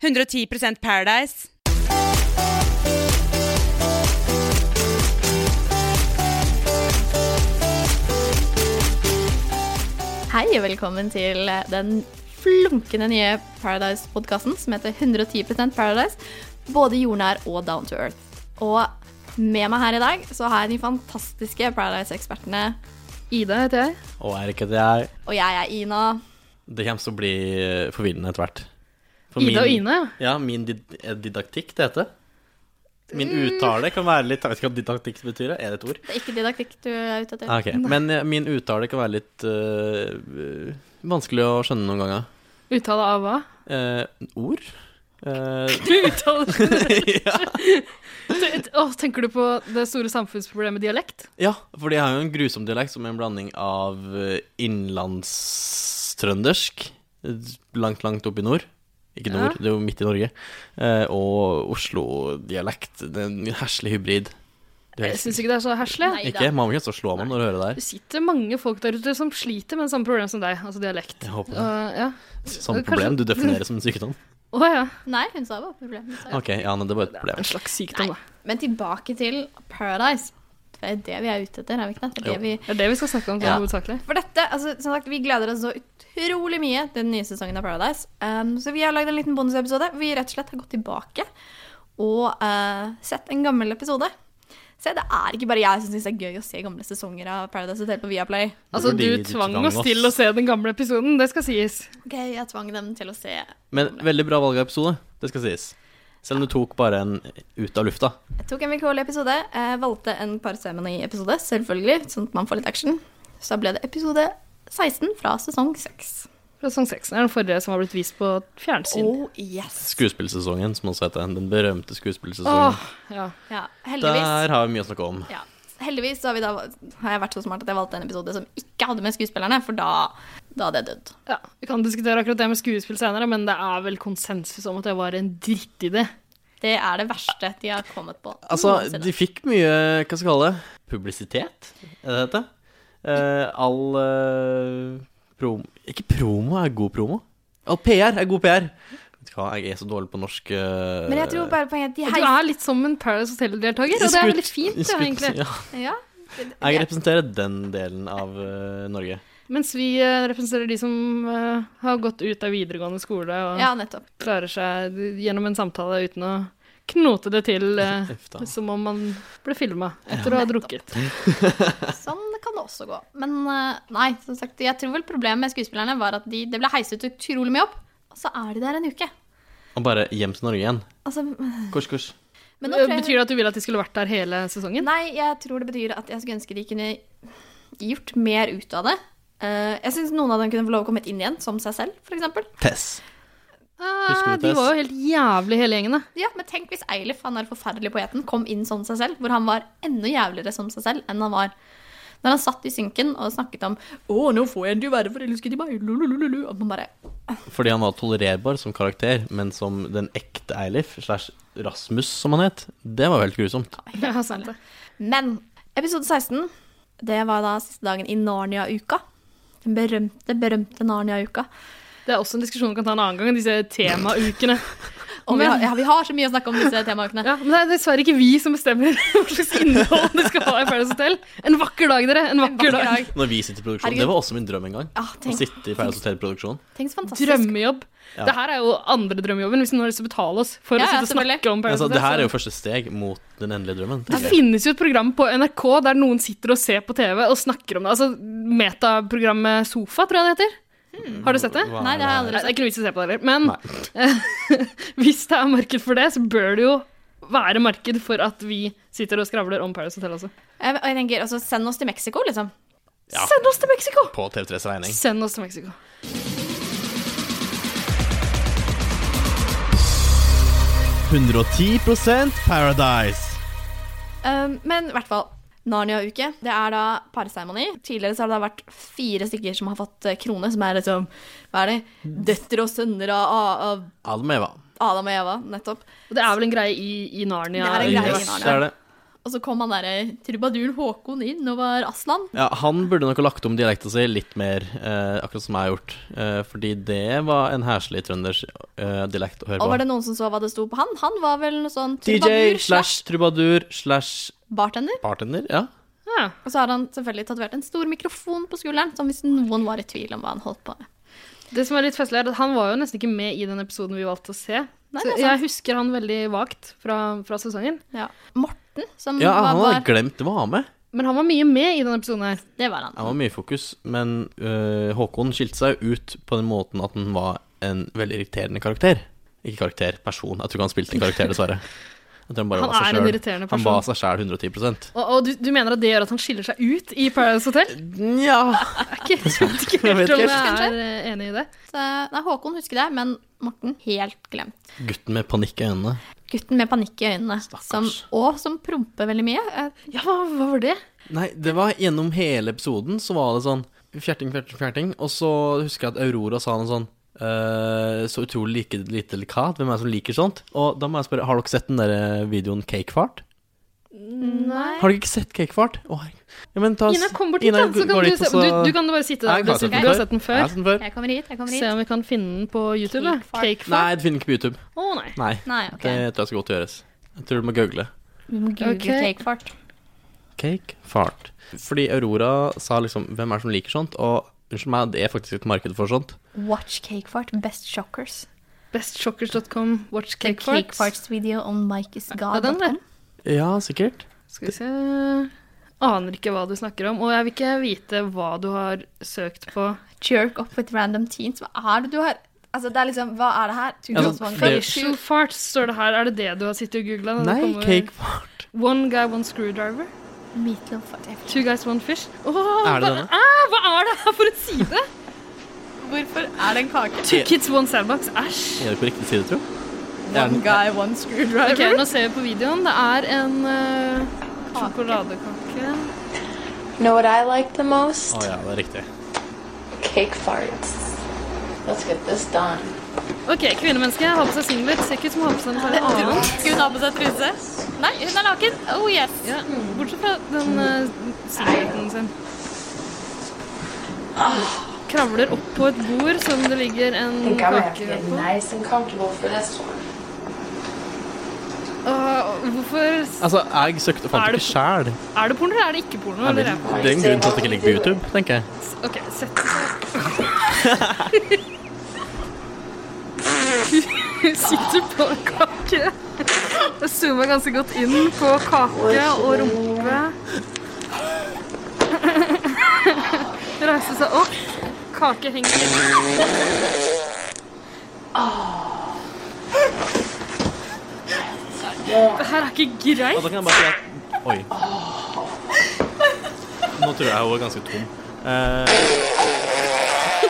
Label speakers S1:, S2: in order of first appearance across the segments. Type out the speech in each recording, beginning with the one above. S1: 110 Paradise.
S2: Hei og velkommen til den flunkende nye Paradise-podkasten som heter 110 Paradise. Både jordnær og down to earth. Og med meg her i dag så har jeg de fantastiske Paradise-ekspertene.
S3: Ida heter jeg.
S4: Og er ikke det jeg
S2: Og jeg er Ina.
S4: Det kommer til å bli eh, forvirrende etter hvert. For
S3: Ida og Ine, ja.
S4: Ja, min did eh, didaktikk, det heter. Min
S3: Mm.
S4: uttale kan være litt Jeg vet ikke hva didaktikk betyr, er det et ord?
S2: Det er ikke didaktikk du er ute etter.
S4: Ah, ok. Men eh, min uttale kan være litt eh, vanskelig å skjønne noen ganger.
S3: Uttale av hva?
S4: Eh, ord? Eh,
S3: Du uttaler
S4: ja.
S3: Åh, Tenker du på det store samfunnsproblemet dialekt?
S4: ja, for jeg har jo en grusom dialekt som er en blanding av eh, innlandstrøndersk, eh, langt, langt opp i nord Ikke nord, det er jo midt i Norge. eh, og Oslo-dialekt. Det er en herselig hybrid. Du er
S3: Jeg syns ikke det er så herselig.
S2: Nei.
S4: Ikke? Man må ikke stå og slå meg når du hører det
S3: Det
S4: her.
S3: sitter mange folk der ute som sliter med samme problem som deg, altså dialekt.
S4: Jeg håper det.
S3: Og, ja.
S4: Samme
S3: Kanskje-
S4: problem du definerer som en sykdom.
S3: Å ja.
S2: Nei, hun sa bare problem. Hun sa jo-
S4: Ok, ja, men det var et problem.
S3: En slags sykdom, da.
S2: Men tilbake til Paradise. Det er det vi er ute etter, er vi ikke det? det, er det
S4: Jo.
S2: vi...
S3: Det er det vi skal snakke om sånn
S4: Ja.
S3: hovedsakelig.
S2: For dette, altså, som sagt, vi gleder oss så utrolig mye til den nye sesongen av Paradise. Um, så vi har lagd en liten bonusepisode hvor vi rett og slett har gått tilbake og eh, sett en gammel episode. Se, det er ikke bare jeg som syns det er gøy å se gamle sesonger av Paradise Hotel på Viaplay.
S3: Altså,
S4: Fordi
S3: du
S4: du
S3: tvang
S4: tvang
S3: oss til å
S4: oss.
S3: se den gamle episoden, det skal sies.
S2: Ok, jeg tvang dem til å se.
S4: Men veldig bra valg av episode, det skal sies. Selv om du tok bare en ut av lufta.
S2: Jeg tok en vilkårlig episode. Jeg valgte en parseremoni-episode, selvfølgelig, sånn at man får litt action. Så da ble det episode 16 fra sesong 6.
S3: Fra sesong 6. Det er den forrige som har blitt vist på fjernsyn.
S2: Oh yes!
S4: Skuespillsesongen, som også heter. Den berømte skuespillsesongen.
S3: Åh, ja.
S2: Ja, heldigvis.
S4: Der har vi mye å snakke om.
S2: Ja. Heldigvis så har, vi da, har jeg vært så smart at jeg valgte en episode som ikke hadde med skuespillerne, for da, da hadde jeg dødd.
S3: ja. Vi kan diskutere akkurat det med skuespill senere, men det er vel konsensus om at det var en drittidé.
S2: Det er det verste de har kommet på.
S4: Altså,
S2: noensinne.
S4: de fikk mye, hva skal jeg kalle det, publisitet, er det dette? Eh, all eh, promo Ikke promo er god promo. All PR er god PR. Vet du hva, jeg er så dårlig på norsk eh,
S2: Men jeg tror bare poenget er
S3: Og
S2: at de
S3: Du er litt som en Paradise Hotel-deltaker, og det er
S4: skutt-
S3: veldig fint, ja,
S4: skutt-
S3: egentlig.
S4: Ja.
S2: heier ja.
S4: Jeg representerer den delen av eh, Norge.
S3: Mens vi eh, representerer de som eh, har gått ut av videregående skole og
S2: ja, nettopp.
S3: klarer seg gjennom en samtale uten å knote det til eh,
S4: Uff da.
S3: som om man ble filma etter å ha drukket.
S2: Sånn kan det også gå. Men eh, nei, som sagt, jeg tror vel problemet med skuespillerne var at de, det ble heiset utrolig mye opp, og så er de der en uke.
S4: Og bare hjem til Norge igjen.
S2: Altså,
S4: Kors, kors.
S2: men nå
S3: Eh,
S2: tror jeg,
S3: Betyr det at du vil at de skulle vært der hele sesongen?
S2: Nei, jeg tror det betyr at jeg skulle ønske de kunne gjort mer ut av det. Eh, jeg syns noen av dem kunne få lov å komme inn igjen, som seg selv, f.eks.
S4: Tess.
S3: Ah,
S4: Husker du
S3: de
S4: Tess?
S3: var jo helt jævlig hele gjengen, da.
S2: Ja, men tenk hvis Eilif, han der forferdelige poeten, kom inn som seg selv, hvor han var enda jævligere som seg selv enn han var. Når han satt i synken og snakket om 'Å, nå får jeg ikke være forelsket i meg', lulululu, og man bare
S4: Fordi han var tolererbar som karakter, men som den ekte Eilif, slash Rasmus, som han het, det var jo helt grusomt.
S3: Ja, sant det.
S2: Men episode 16, det var da siste dagen i Narnia-uka. Den berømte, berømte Narnia-uka.
S3: Det er også en diskusjon vi kan ta en annen gang, disse temaukene.
S2: Og vi
S3: Men-
S2: har, ja, vi har så mye å snakke om disse temaukene.
S3: Ja, men det er dessverre ikke vi som bestemmer hva slags innhold det skal ha i Paradise Hotel. En vakker dag, dere. En vakker dag.
S4: Når vi sitter i produksjon.
S2: Herregud.
S4: Det var også min drøm en gang.
S2: Ja,
S4: Å
S2: Ah, tenk,
S4: sitte i Paradise Hotel-produksjon.
S2: tenk så fantastisk.
S3: Drømmejobb.
S4: Ja.
S3: Det her er jo andre drømmejobben, hvis noen har lyst til å betale oss for
S2: Ja,
S3: å
S2: ja,
S3: sitte og snakke om Paradise
S4: Altså, det
S3: Hotel.
S4: her er
S3: så-
S2: sånn."
S4: jo første steg mot den endelige drømmen.
S3: det finnes jo et program på NRK der noen sitter og ser på TV og snakker om det. Altså metaprogrammet Sofa, tror jeg det heter. Har du sett det?
S4: Hva
S2: Nei, det har jeg
S3: Nei,
S2: aldri
S3: Det er ikke noe vits i å se på det heller. Men hvis det er marked for det, så bør det jo være marked for at vi sitter og skravler om Paradise Hotel også.
S2: Jeg, og jeg tenker, altså, Send oss til Mexico, liksom.
S4: Ja.
S3: Send oss til Mexico!
S4: På TV3s regning.
S3: Send oss til Mexico.
S5: Paradise.
S2: Um, men i hvert fall. Narnia-uke. Det er da parseremoni. Tidligere så har det da vært fire stykker som har fått eh, krone, som er liksom Hva er det? Døtre og sønner av, av,
S4: Almeva.
S2: av Adam og Eva, nettopp.
S3: Og det er vel en greie i, i Narnia?
S2: Det er en greie i
S4: Yes,
S2: Narnia.
S4: det er det.
S2: Og så kom han derre trubaduren Håkon inn og var Aslan.
S4: Ja, han burde nok ha lagt om dialekta si litt mer, eh, akkurat som jeg har gjort. Eh, fordi det var en heslig trønders eh, dialekt å høre
S2: Og
S4: på.
S2: var det noen som så hva det sto på han? Han var vel noe sånn
S4: DJ
S2: trubadur slash
S4: slash trubadur slash
S2: bartender.
S4: bartender, ja.
S3: Ja.
S2: Og så har han selvfølgelig tatovert en stor mikrofon på skulderen, som hvis noen var i tvil om hva han holdt på med.
S3: Det som er litt festlig, er at han var jo nesten ikke med i den episoden vi valgte å se.
S2: Nei,
S3: så
S2: det er sant.
S3: jeg husker han veldig vagt fra, fra sesongen.
S2: Ja. Morten, som
S4: Ja,
S2: var,
S4: han hadde
S2: Mm, var
S4: glemt å være med.
S3: Men han var mye med i denne episoden her.
S2: Det var han.
S4: Han var mye i fokus, men eh, Håkon skilte seg jo ut på den måten at han var en veldig irriterende karakter. Ikke karakter, person. Jeg tror ikke han spilte en karakter, dessverre. Jeg tror han bare
S3: Han
S4: var
S3: er
S4: seg
S3: en
S4: selv.
S3: irriterende
S4: Han var
S3: person.
S4: seg sjæl 110
S3: Og, og du, du mener at det gjør at han skiller seg ut i Paradise Hotel?
S4: Nja
S3: Jeg vet ikke helt
S4: Jeg vet
S3: om
S4: ikke
S3: jeg er eh, enig i det.
S2: Så, nei, Håkon husker det, men Morten helt glemt.
S4: Gutten med panikk i øynene.
S2: Gutten med panikk i øynene, som, og som promper veldig mye. Eh,
S3: Ja, hva, hva var det?
S4: Nei, det var gjennom hele episoden så var det sånn fjerting, fjerting, fjerting. Og så husker jeg at Aurora sa noe sånn eh, Så utrolig like, lite delikat. Hvem er det som liker sånt? Og da må jeg spørre, har dere sett den der eh, videoen Cakefart?
S3: Nei.
S4: Har dere ikke sett Cakefart? Å, herregud. ja, men ta,
S3: Ina, kom bort hit,
S4: Ina,
S3: da. Så
S4: går
S3: kan du,
S4: dit,
S3: se,
S4: og så-
S3: du, du kan bare sitte
S4: Nei,
S3: der.
S4: jeg
S3: Du,
S4: har sett
S3: du har sett den
S4: den før. Jeg
S3: før.
S4: har sett den før.
S2: Jeg kommer hit, jeg kommer
S3: Se
S2: hit.
S3: om vi kan finne den på YouTube. da.
S2: Cake fart.
S3: Cake
S4: Nei,
S3: fart.
S4: det finner ikke på YouTube.
S3: Å nei.
S4: Nei,
S2: Nei, ok.
S4: det tror jeg skal godt gjøres. Jeg tror du må google.
S2: Vi må google
S3: Ok.
S2: cakefart.
S4: Cakefart. Fordi Aurora sa liksom Hvem er det som liker sånt? Og unnskyld meg, det er faktisk et marked for sånt.
S2: Watch cakefart, best shockers.
S3: Bestshockers.com, watch
S2: The
S3: cake farts.
S2: cakefarts video on Mike is
S3: Ja, den der.
S2: god.com.
S4: Ja, sikkert.
S3: Skal vi se Aner ikke hva du snakker om, og jeg vil ikke vite hva du har søkt på.
S2: Jerk up with random teens. Hva er det du har Altså, det er liksom Hva er det her?
S4: Ja, sånn, det-
S2: 2021.
S3: Facial farts står det her. Er det det du har sittet og googla?
S4: Nei, Cakefart.
S3: One guy, one screwdriver.
S2: Meatloaf what if.
S3: Two guys, one fish. Åh,
S4: Er det
S3: hva-
S4: denne?
S3: Ah, hva er det her for en side?
S2: Hvorfor er det en kake?
S3: Two kids, one sandbox. Æsj.
S4: Er det på riktig side, tro?
S2: One guy, one screwdriver.
S3: Ok, nå ser vi på videoen. Det er en eh, sjokoladekake.
S1: Know what I like the most?
S4: Å ja, det er riktig.
S1: Cake farts. Let's get this done.
S3: Ok, kvinnemenneske har på seg singlet. Ser ikke ut som har på seg noe annet.
S2: Skal hun ha på seg truse? Nei, hun er naken. Oh yes.
S3: Ja, bortsett fra den uh, singleten sin. Kravler opp på et bord som det ligger en
S1: think I'm gonna have to
S3: kake
S1: get
S3: på.
S1: nice and comfortable for this one.
S3: Åh, hvorfor
S4: Altså, jeg søkte
S3: Er
S4: og fant
S3: det-
S4: ikke sjæl.
S3: Er det porno, eller er det ikke porno?
S4: Det
S3: Eller
S4: er
S3: er det?
S4: en grunn til at det ikke ligger på YouTube, tenker jeg.
S3: Ok, sett Hun sitter på en kake. Jeg zoomer ganske godt inn på kake og rumpe. Reiser seg opp. Kake henger litt. Det her er ikke
S4: Og
S3: greit.
S4: da kan jeg bare si at Oi. Nå tror jeg hun er ganske tom. Eh,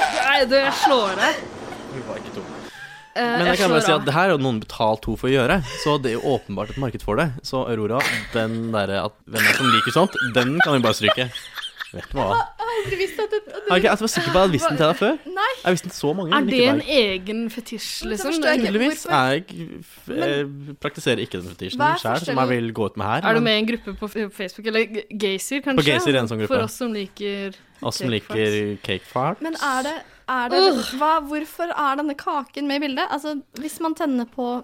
S3: Nei, du, jeg slår av.
S4: hun var ikke tom.
S3: Eh,
S4: Men jeg kan
S3: slår
S4: bare si
S3: av.
S4: at det her har noen betalt henne for å gjøre, så det er jo åpenbart et marked for det. Så Aurora, den derre at hvem er det som liker sånt, den kan vi bare stryke. Vet du hva? Jeg, jeg var sikker på at jeg hadde visst den til deg før.
S2: Nei.
S4: Jeg visste den så mange.
S3: Er
S4: men
S3: det
S4: ikke
S3: en
S4: deg.
S3: egen fetisj, liksom?
S2: forstår jeg ikke.
S4: Tydeligvis. Jeg f- eh, praktiserer ikke den
S2: Hva
S4: fetisjen
S2: er
S4: sjøl, som jeg
S2: forskjellen?
S4: vil gå ut med her.
S3: Er du
S4: men-
S3: med i en gruppe på f- Facebook, eller g- Gaysir kanskje?
S4: På Gaysir er en sånn gruppe.
S3: For oss som liker
S4: Oss som
S3: cake farts.
S4: liker cake farts.
S2: Men er det, er det hva, Hvorfor er denne kaken med i bildet? Altså, hvis man tenner på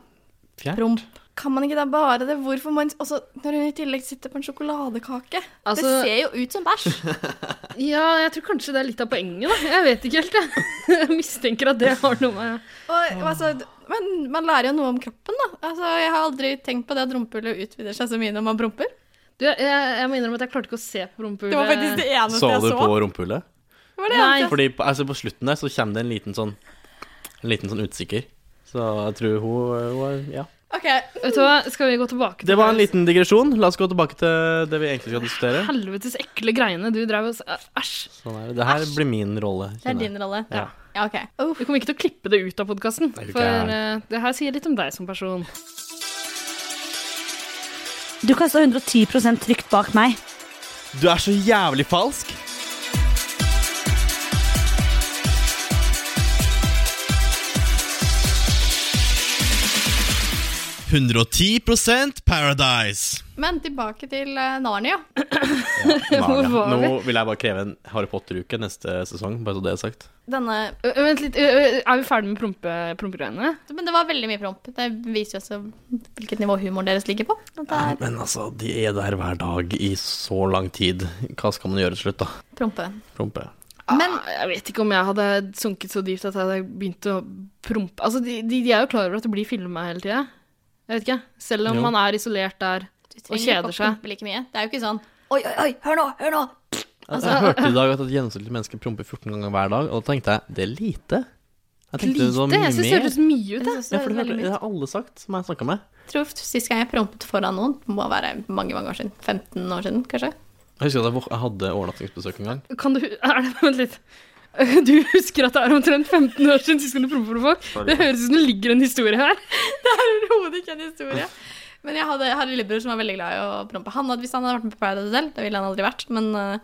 S4: Fjert.
S2: promp, kan man ikke da bare det? Hvorfor må man også, Når hun i tillegg sitter på en sjokoladekake Det
S3: Altså-
S2: ser jo ut som bæsj.
S3: Ja, jeg tror kanskje det er litt av poenget, da. Jeg vet ikke helt, jeg. jeg mistenker at det har noe med
S2: Og, og altså, men man lærer jo noe om kroppen, da. Altså, jeg har aldri tenkt på det at rumpehullet utvider seg så mye når man promper.
S3: Du, jeg, jeg må innrømme at jeg klarte ikke å se på
S2: Det
S3: rumpehullet.
S2: var faktisk det eneste
S4: Så
S2: jeg
S4: du
S2: så.
S4: på rumpehullet?
S2: Det var det
S3: Nei.
S2: eneste jeg-
S4: Fordi på, altså på slutten der så kommer det en liten sånn En liten sånn utsikker. Så jeg tror hun, hun er- Ja.
S2: Ok,
S3: Vet du hva, skal vi gå tilbake til
S4: Det var en liten digresjon. La oss gå tilbake til det vi egentlig skal diskutere.
S3: Helvetes ekle greiene du drev og s- Æsj.
S4: Sånn er det. Det her blir min rolle.
S2: det er
S4: kjenner jeg.
S2: din rolle.
S4: Ja.
S2: Ja, ok. Uff.
S3: Vi kommer ikke til å klippe det ut av podkasten,
S4: Nei, du
S3: for
S4: gæren.
S3: eh, det her sier litt om deg som person.
S6: Du kan stå 110 trygt bak meg.
S4: Du er så jævlig falsk!
S5: Paradise.
S2: Men tilbake til eh, Narnia.
S4: Narnia.
S3: var vi?
S4: Nå vil jeg bare kreve en Harry Potter-uke neste sesong, bare så det er sagt.
S2: Denne
S3: Ø, ø, Vent litt, ø, ø, er vi ferdig med prompe, prompegreiene?
S2: Men det var veldig mye promp. Det viser jo også hvilket nivå humoren deres ligger på. At det er
S4: Men altså, de er der hver dag i så lang tid. Hva skal man gjøre til slutt, da?
S2: prompe.
S4: Prompe.
S2: Men-
S3: ah, jeg vet ikke om jeg hadde sunket så dypt at jeg hadde begynt å prompe. Altså, de, de, de er jo klar over at det blir filma hele tida. Jeg vet ikke. Selv om
S4: Jo.
S3: man er isolert der.
S2: Du
S3: Og
S2: trenger
S3: kjeder
S2: ikke å
S3: seg.
S2: prompe like mye. Det er jo ikke sånn Oi, oi, oi, hør nå, hør nå!
S4: Altså, jeg hørte i dag at et gjennomsnittlig menneske promper 14 ganger hver dag, og da tenkte jeg det er lite. Jeg tenkte det var
S3: Lite.
S4: mye
S3: Jeg syns det
S4: mer.
S3: høres mye ut, jeg.
S2: Jeg synes
S4: Ja,
S2: det
S4: for
S2: er
S4: det, hørte,
S2: veldig
S4: det
S2: mye.
S4: har alle sagt som jeg har snakka med.
S2: Jeg tror sist gang jeg prompet foran noen, må være mange mange år siden. 15 år siden, kanskje.
S4: Jeg husker at jeg vok- jeg hadde overnattingsbesøk en gang.
S3: Kan du er det, Vent litt. Du husker at det er omtrent 15 år siden sist gang du prompa for folk? Det høres ut som det ligger en historie her.
S2: Overhodet ikke en historie. Men jeg hadde, jeg hadde en lillebror som var veldig glad i å prompe. Han hadde, hvis han hadde vært med på Paradise Hotel, det ville han aldri vært, men eh,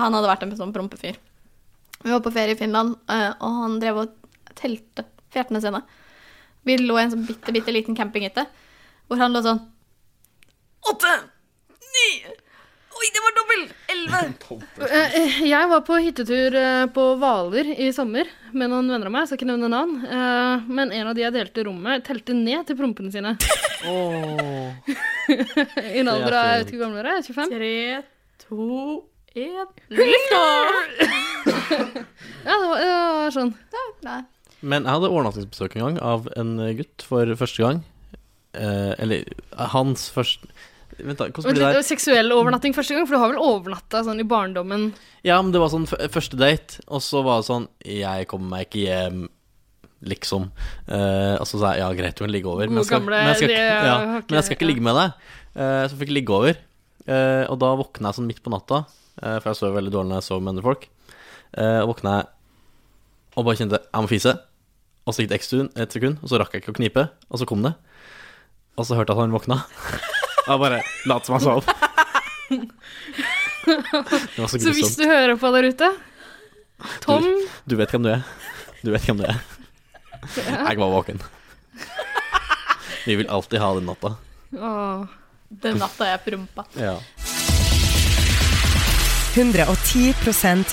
S2: han hadde vært en sånn prompefyr. Vi var på ferie i Finland, eh, og han drev og telte fjertene sine. Vi lå i en sånn bitte, bitte liten campinghytte, hvor han lå sånn Åtte! Ni! Oi, det var dobbel! Elleve!
S3: Eh, Jeg var på hyttetur eh, på Hvaler i sommer med noen venner av meg. Jeg skal ikke nevne navn. Eh, Men en av de jeg delte rommet, telte ned til prompene sine. I en alder av jeg vet ikke hvor gammel dere er, 25?
S2: Tre, to, én Lyft opp!
S3: Ja, det var, det var sånn.
S2: Nei.
S4: Men jeg hadde overnattingsbesøk en gang av en gutt for første gang. Eh, eller hans første Vent, da. Hvordan
S3: Vent
S4: blir det
S3: litt,
S4: der?
S3: det var seksuell overnatting første gang, for du har vel overnatta sånn i barndommen?
S4: Ja, men det var sånn f første date, og så var det sånn Jeg kommer meg ikke hjem, liksom. Eh, og så sa jeg ja, greit, du kan ligge over, men jeg skal,
S3: Gode gamle,
S4: men jeg skal,
S3: det
S4: ikke, ja,
S3: har ikke-
S4: men jeg skal ikke
S3: ja.
S4: ligge med deg. Eh, så fikk jeg ligge over. Eh, og da våkna jeg sånn midt på natta, eh, for jeg sov veldig dårlig når jeg sov med andre folk. Eh, og våkna jeg og bare kjente jeg må fise. Og så gikk det ett sekund, et sekund, og så rakk jeg ikke å knipe, og så kom det. Og så hørte jeg at han våkna. Og jeg bare lot som jeg sov. Det var så
S3: Så hvis
S4: grusomt.
S3: du hører på der ute Tom
S4: Du vet hvem du er. Du vet hvem du er. Jeg var våken. Vi vil alltid ha den natta.
S3: Åh.
S2: Den natta jeg prompa.
S7: 110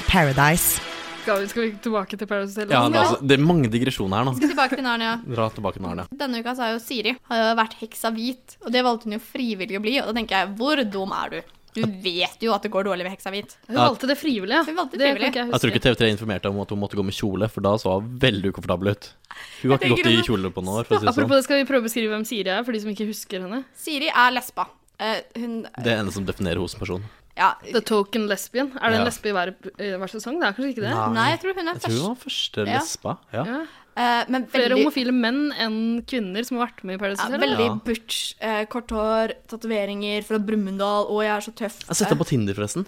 S7: Paradise.
S3: Skal vi, skal vi tilbake til Paradise Hotel?
S4: Ja, men altså, det er mange digresjoner her nå.
S2: Skal tilbake til Narnia.
S4: Dra tilbake til Arne.
S2: Denne uka så har jo Siri har jo vært heksa hvit, og det valgte hun jo frivillig å bli. Og da tenker jeg, hvor dum er du? Du vet jo at det går dårlig med heksa hvit.
S3: Hun valgte det frivillig, ja.
S2: Hun valgte
S3: det
S2: frivillig.
S3: kan ikke
S4: Jeg tror
S3: huske.
S4: ikke TV3 informerte om at hun måtte gå med kjole, for da så hun veldig ukomfortabel ut. Hun har ikke
S2: tenker
S4: gått i
S2: også-
S4: kjole på noen år, for å si det sånn.
S3: Apropos det, skal vi prøve å beskrive hvem Siri er, for de som ikke husker henne?
S2: Siri er lesba. Eh, hun
S4: sånn. Det er ene som definerer henne som person.
S2: Ja.
S3: The Token Lesbian. Er det en
S4: Ja.
S3: lesbe i hver, eh, hver sesong? Det er kanskje ikke det?
S2: Nei, jeg tror hun er
S4: Jeg tror hun
S2: først.
S4: var første
S2: Ja.
S4: lesba. Ja.
S3: Ja.
S2: Eh, men
S3: Flere
S2: veldig,
S3: homofile menn enn kvinner som har vært med i Paradise
S2: ja,
S3: Hotel? eller?
S2: veldig
S4: Ja.
S2: butch. eh, kort hår, tatoveringer fra Brumunddal, og jeg er så tøff. Eh,
S4: Jeg setter på Tinder, forresten.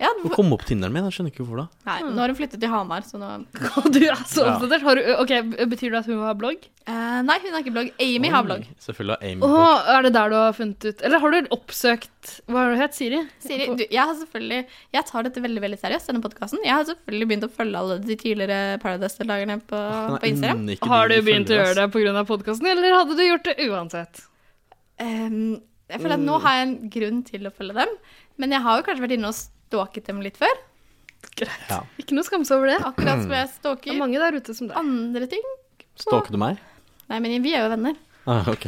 S2: ja,
S4: Hun
S2: hvor, Mm.
S4: kom opp på Tinderen min, jeg skjønner ikke hvorfor da.
S2: nei, nå har hun flyttet til Hamar, så nå
S3: Du er så
S4: Ja.
S3: oppdatert. Har du, ok, Betyr det at hun har blogg?
S2: Eh, Nei, hun har ikke blogg. Amy har blogg.
S4: Oi, Selvfølgelig har Amy
S3: Åh,
S4: blogg.
S3: er det der du har funnet ut Eller har du oppsøkt Hva har du hett, Siri?
S2: Siri, du, jeg har selvfølgelig Jeg tar dette veldig veldig seriøst, denne podkasten. Jeg har selvfølgelig begynt å følge alle de tidligere Paradise-deltakerne på,
S4: Hun er
S2: på Instagram.
S4: innike
S3: Har du
S4: digg
S3: begynt å
S4: følger,
S3: gjøre det
S4: ass.
S3: pga. podkasten, eller hadde du gjort det uansett?
S2: Ehm, jeg føler
S3: Mm.
S2: at nå har jeg en grunn til å følge dem, men jeg har jo kanskje vært inne og stalket dem litt før.
S3: Greit.
S4: Ja.
S3: Ikke noe skamse over det.
S2: Akkurat som jeg
S3: Det er
S2: stalker
S3: mange der ute som deg.
S2: andre ting.
S4: Stalker du meg?
S2: Nei, men vi er jo venner.
S4: Ah, ok.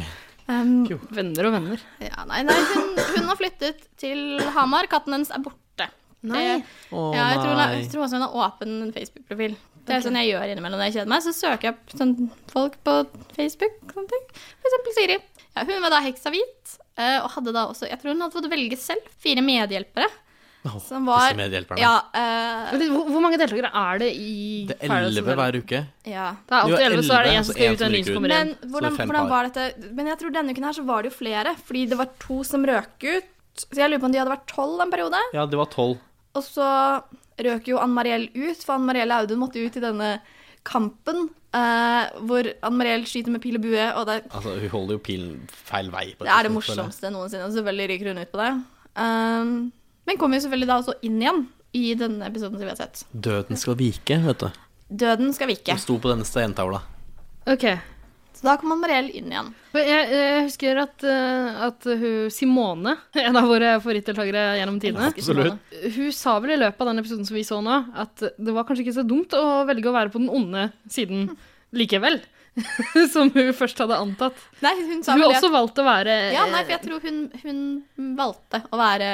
S2: Ehm,
S3: Venner og venner.
S2: ja, nei, nei, hun, hun har flyttet til Hamar. Katten hennes er borte.
S3: Nei.
S2: Det-
S4: Å
S2: ja, jeg, tror hun har,
S4: nei.
S2: jeg tror også hun har åpen Facebook-profil. Det er sånn jeg gjør innimellom når jeg kjeder meg. Så søker jeg opp sånn folk på Facebook. Sånne ting. For eksempel Siri. Ja, hun var da heksa hvit, eh, og hadde da også Jeg tror hun hadde fått velge selv. Fire medhjelpere.
S4: Åh,
S2: Som var
S4: disse medhjelperne.
S2: Ja. eh,
S3: Men det- Hvor, hvor mange deltakere er det i
S4: Det er
S3: Paradise
S4: elleve
S3: Hotel?
S4: hver uke.
S2: ja.
S3: Det er
S4: Du
S3: alltid
S4: har
S3: elleve, så er det
S4: elleve,
S3: en som
S4: så
S3: skal
S4: en
S3: ut, og
S4: som
S3: en ny
S4: ryker
S3: som
S4: ut.
S3: kommer inn.
S2: Men hvordan,
S4: fem
S2: hvordan
S4: par.
S2: var dette Men jeg tror denne uken her så var det jo flere, fordi det var to som røk ut. Så jeg lurer på om de hadde vært tolv en periode.
S4: Ja, det var tolv.
S2: Og så røk jo Ann Mariell ut, for Ann Mariell Audun måtte ut i denne kampen eh, hvor Ann Mariell skyter med pil og bue, og det,
S4: Altså, hun holder jo pilen feil vei. På
S2: det
S4: et
S2: er det
S4: tidspunkt, føler
S2: morsomste
S4: jeg.
S2: noensinne. Og selvfølgelig ryker hun ut på det. Um, men kommer jo selvfølgelig da også inn igjen i denne episoden som vi har sett.
S4: Døden skal vike, vet du.
S2: Døden skal vike.
S4: Hun sto på denne steintavla.
S3: Ok,
S2: Så da kom Mariell inn igjen.
S3: For Jeg, jeg husker at, eh, at hun Simone, en av våre favorittdeltakere gjennom tidene
S4: Absolutt.
S3: Hun sa vel i løpet av den episoden som vi så nå, at det var kanskje ikke så dumt å velge å være på den onde siden likevel. som hun først hadde antatt.
S2: Nei, hun sa
S3: Hun har
S2: vel det.
S3: også valgt å være
S2: Ja, nei, for jeg tror hun, hun valgte å være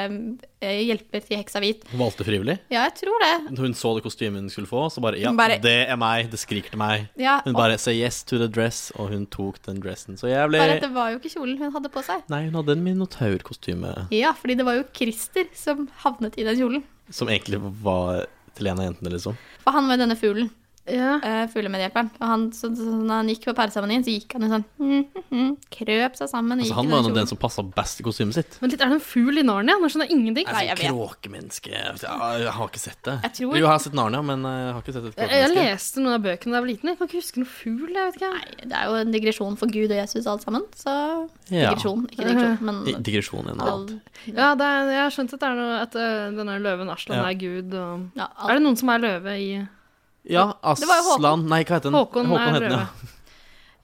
S2: eh, hjelper til heksa hvit.
S4: Hun valgte frivillig.
S2: Ja, jeg tror det.
S4: Hun så det kostymet hun skulle få, så bare Ja,
S2: Hun bare-
S4: det er meg. Det skriker til meg.
S2: Ja,
S4: Hun bare say yes to the dress, og hun tok den dressen. Så jeg
S2: og
S4: ble
S2: bare at det var jo ikke kjolen hun hadde på seg.
S4: Nei, hun hadde en minotaurkostyme
S2: Ja, fordi det var jo Christer som havnet i den kjolen.
S4: som egentlig var til en av jentene, liksom.
S2: For han var denne fuglen.
S3: Ja.
S2: eh, fuglemedhjelperen. Og han, så, så når han gikk på pæreseremonien, så gikk han jo sånn mm, mm, mm, Krøp seg sammen. og
S4: Altså,
S2: gikk
S4: han
S2: i
S4: var
S2: den
S4: nå den
S2: kjolen.
S4: som passa best i kostymet sitt. Sånn
S3: Men litt, er det en fugl i Narnia? Nå skjønner jeg ingenting.
S2: Nei, jeg vet.
S4: Kråkemenneske Jeg jeg har ikke sett det.
S2: Jeg tror-
S4: Jo, jeg har sett Narnia, men eh, jeg har ikke sett et
S3: Jeg, jeg
S4: kråkemenneske.
S3: leste noen av bøkene da jeg var liten. Jeg kan ikke huske noe fugl. jeg vet ikke.
S2: Det er jo en digresjon for Gud og Jesus alt sammen, så
S4: Ja.
S2: Digresjon, ikke digresjon, men
S4: I- Digresjon igjen.
S2: all,
S4: alt.
S3: Ja, det er, Jeg har skjønt at, det er noe, at øh, denne løven Aslan
S4: Ja.
S3: er gud. Og...
S2: ja,
S3: Er
S2: all,
S3: det noen som er løve i
S4: Ja,
S2: Det var jo Håkon.
S4: Aslan Nei, hva heter den?
S3: Håkon er
S4: heter den,
S3: rød.
S4: ja.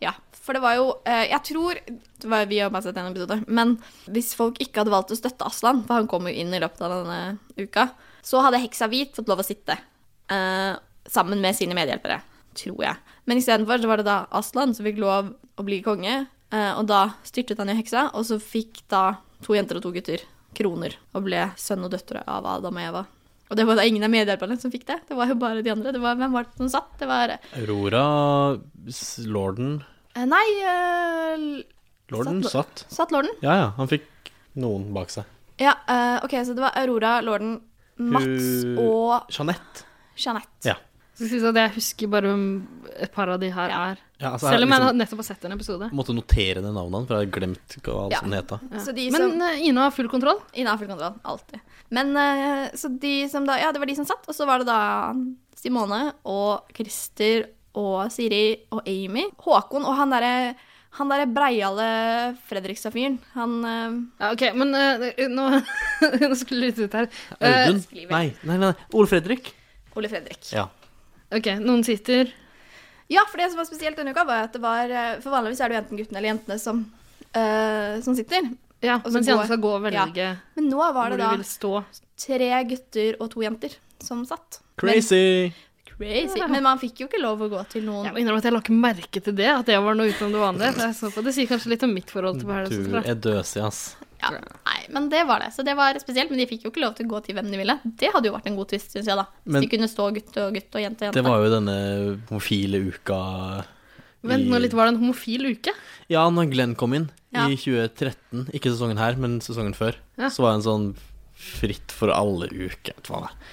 S2: ja. For det var jo eh, Jeg tror det var, Vi har bare sett en episode, men hvis folk ikke hadde valgt å støtte Aslan, for han kom jo inn i løpet av denne uka, så hadde heksa hvit fått lov å sitte eh, sammen med sine medhjelpere, tror jeg. Men istedenfor så var det da Aslan som fikk lov å bli konge, eh, og da styrtet han jo heksa, og så fikk da to jenter og to gutter kroner og ble sønn og døtre av Adam og Eva. Og det var da ingen av medhjelperne som fikk det, det var jo bare de andre. Det var, hvem var det som satt? Det var
S4: Aurora s- Lorden
S2: Eh, Nei, eh, l-
S4: Lorden
S2: Satt-
S4: satt.
S2: satt lorden?
S4: Ja, ja. Han fikk noen bak seg.
S2: Ja, eh, ok, så det var Aurora, lorden, Mats
S4: Hun-
S2: og
S4: Jeanette.
S2: Jeanette.
S4: Ja.
S3: Så skal vi si at Jeg husker bare om et par av de her
S2: Ja.
S3: er
S4: Ja, altså,
S3: Selv om
S4: liksom-
S3: jeg nettopp har sett en episode.
S4: Måtte notere det navnet hans, for jeg hadde glemt hva alt
S2: Ja.
S4: som het. da.
S2: Så de
S3: Men
S2: som,
S3: øh, Ina har full kontroll.
S2: Innen full kontroll, alltid. Men eh, så de som da, ja, det var de som satt, og så var det da Simone og Christer og Siri og Amy. Håkon og han derre han derre breiale Fredrikstad-fyren, han eh,
S3: Ja, ok, Men øh, nå, nå skulle det lytte ut her. Eh,
S4: Audun? nei, nei, nei. Ole Fredrik?
S2: Ole Fredrik.
S4: Ja.
S3: Eh, ok, Noen sitter
S2: Ja, for det som var spesielt denne uka, var at det var eh, For vanligvis er det jo enten guttene eller jentene som, eh, som sitter.
S3: ja,
S2: så
S3: mens
S2: går-
S3: de andre skal gå og velge
S2: Men nå var
S3: hvor
S2: det
S3: de
S2: da
S3: vil stå.
S2: tre gutter og to jenter som satt. Men,
S4: Crazy!
S2: crazy. Men man fikk jo ikke lov å gå til
S3: Jeg
S2: noen
S3: må innrømme at jeg la ikke merke til det, at det var noe utenom det vanlige. så jeg så på. Det sier kanskje litt om mitt forhold til Paradise
S4: Du
S3: Hotel. da.
S4: er døsig, ass.
S2: ja, Nei, men det var det. Så det var spesielt. Men de fikk jo ikke lov til å gå til hvem de ville. Det hadde jo vært en god twist, syns jeg, da. Hvis
S4: Men-
S2: de kunne stå gutt og gutt og jente og
S4: Det
S2: jente.
S4: var jo denne homofile uka i-
S3: Vent nå litt, var det en homofil uke?
S4: Ja, når Glenn kom inn
S2: Ja.
S4: i 2013, ikke sesongen her, men sesongen før,
S3: Ja.
S4: så var det en sånn fritt for alle-uke.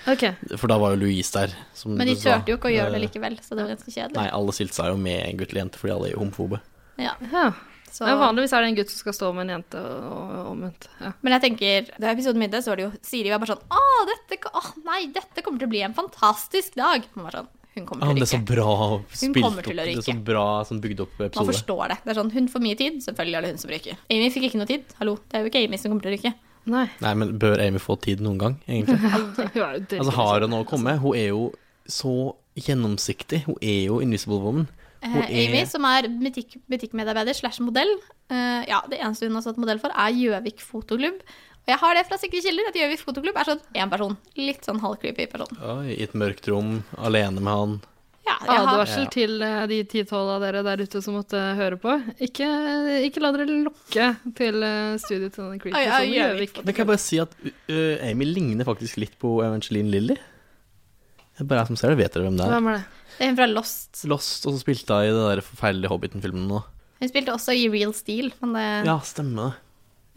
S3: Ok,
S4: For da var jo Louise der. Som
S2: Men de
S4: du sa.
S2: turte jo ikke å gjøre det
S4: Eh,
S2: likevel, så det var ganske kjedelig.
S4: Nei, alle stilte seg jo med en gutt eller jente fordi alle er homofobe.
S2: Ja,
S3: ja.
S2: så...
S3: Men vanligvis er det en gutt som skal stå med en jente, og, og omvendt. Ja.
S2: Men jeg tenker, da episoden begynte, så var det jo Siri var bare sånn Å, dette, ka- åh, nei, dette kommer til å bli en fantastisk dag. Man var sånn, hun kommer
S4: Ja, men
S2: til
S4: det
S2: å
S4: er så
S2: ryke.
S4: bra spilt opp.
S2: kommer til å
S4: Det er så
S2: ryke.
S4: bra sånn bygd opp
S2: Man
S4: episode.
S2: forstår det. Det er sånn, Hun får mye tid, selvfølgelig er det hun som ryker. Amy fikk ikke noe tid. Hallo, det er jo ikke Amy som kommer til å ryke.
S3: Nei.
S4: Nei, men bør Amy få tid noen gang, egentlig?
S3: Hun er jo død.
S4: Altså, har hun noe å komme? Hun er jo så gjennomsiktig. Hun er jo Invisible Woman.
S2: Eh,
S4: Hun er-
S2: Amy, som er butikk, butikkmedarbeider slash modell, eh, ja, det eneste hun har stått modell for, er Gjøvik Fotoklubb. Og jeg har det fra sikre kilder, at Gjøvik Fotoklubb er sånn én person. Litt sånn halvcreepy person.
S4: Oi, I et mørkt rom, alene med han.
S2: Ja, jeg har,
S3: Advarsel
S4: Ja.
S3: til eh, de 10-12 av dere der ute som måtte eh, høre på. Ikke, eh, ikke la dere lokke til eh, studiet til denne creepy
S2: Oi, oi,
S3: personen i
S2: Gjøvik.
S3: Gjøvik.
S4: Men kan jeg bare si at ø, Amy ligner faktisk litt på Evangeline Lilly? Det er bare jeg som ser det. Vet dere hvem det er?
S3: Hvem er det?
S2: det er hun fra Lost.
S4: Lost, og så spilte hun i den der forferdelige Hobbiten-filmen nå.
S2: Hun spilte også i Real Steel, men det
S4: Ja, stemmer det.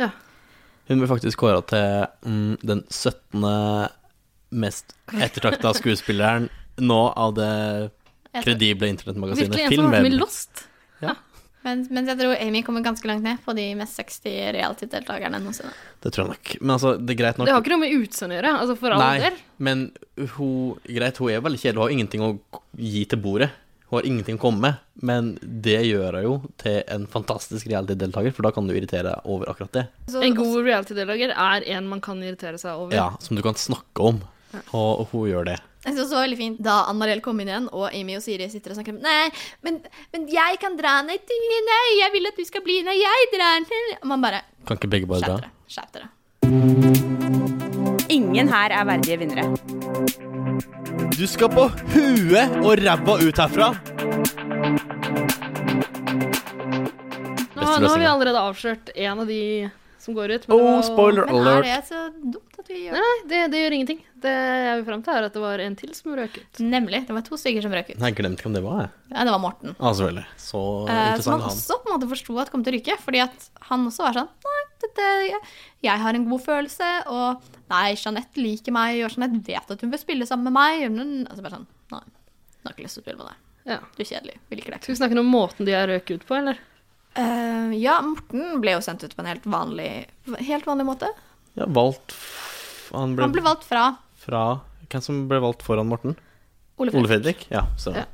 S3: Ja.
S4: Hun ble faktisk kåra til mm, den 17. mest ettertrakta skuespilleren nå av det
S2: jeg tror-
S4: kredible
S3: Virkelig
S4: internettmagasinet
S3: en som har vært med i
S4: Filmweb.
S3: Lost?
S2: Men, mens jeg tror Amy kommer ganske langt ned på de mest 60 reality-deltakerne noensinne.
S4: Det tror jeg nok. Men altså, det er greit nok.
S3: Det har ikke noe med utseendet å gjøre, altså for all
S4: Nei,
S3: del.
S4: men hun, greit, hun er veldig kjedelig. Hun har ingenting å gi til bordet. Hun har ingenting å komme med, men det gjør hun jo til en fantastisk reality-deltaker, for da kan du irritere deg over akkurat det.
S2: Så
S3: En god reality-deltaker er en man kan irritere seg over.
S4: Ja, Som du kan snakke om, og hun gjør det.
S2: Jeg synes også det var veldig fint Da Ann-Mariell kom inn igjen, og Amy og Siri sitter og snakker om Nei, men, men jeg kan dra ned til Nei, jeg vil at du skal bli Nei, jeg drar ned Og man bare
S4: Kan ikke begge bare
S2: Skjerp
S4: dra?
S2: dere. Skjerp dere.
S8: Ingen her er verdige vinnere.
S4: Du skal på huet og ræva ut herfra!
S3: Nå, nå har vi allerede avslørt en av de som går ut. men det
S4: Oh,
S3: var-
S4: spoiler
S2: Men er
S4: alert.
S2: det så dumt at vi gjør
S3: Nei, nei, det, det gjør ingenting. Det jeg vil fram til, er at det var en til som røk ut.
S2: Nemlig. Det var to stykker som røk ut.
S4: Nei, jeg glemte hvem det var, jeg.
S2: Ja, det var Morten.
S4: Ah, selvfølgelig. Så
S2: Eh, som
S4: interessant
S2: han
S4: han.
S2: også på en måte forsto at kom til å ryke. Fordi at han også var sånn Nei, dette, jeg, jeg har en god følelse, og nei, Jeanette liker meg, og Jeanette vet at hun vil spille sammen med meg. Men, altså bare sånn Nei, hun har ikke lyst til å spille med deg.
S3: Ja.
S2: Du er kjedelig. Vi liker deg ikke.
S3: Skal vi snakke om måten de har røk ut på, eller?
S2: Eh, ja, Morten ble jo sendt ut på en helt vanlig, helt vanlig måte.
S4: Ja, valgt f- Han ble,
S2: Han ble valgt fra
S4: fra Hvem som ble valgt foran Morten?
S2: Ole
S4: Ole
S2: Fredrik.
S4: Fredrik? Ja, så
S3: Ja.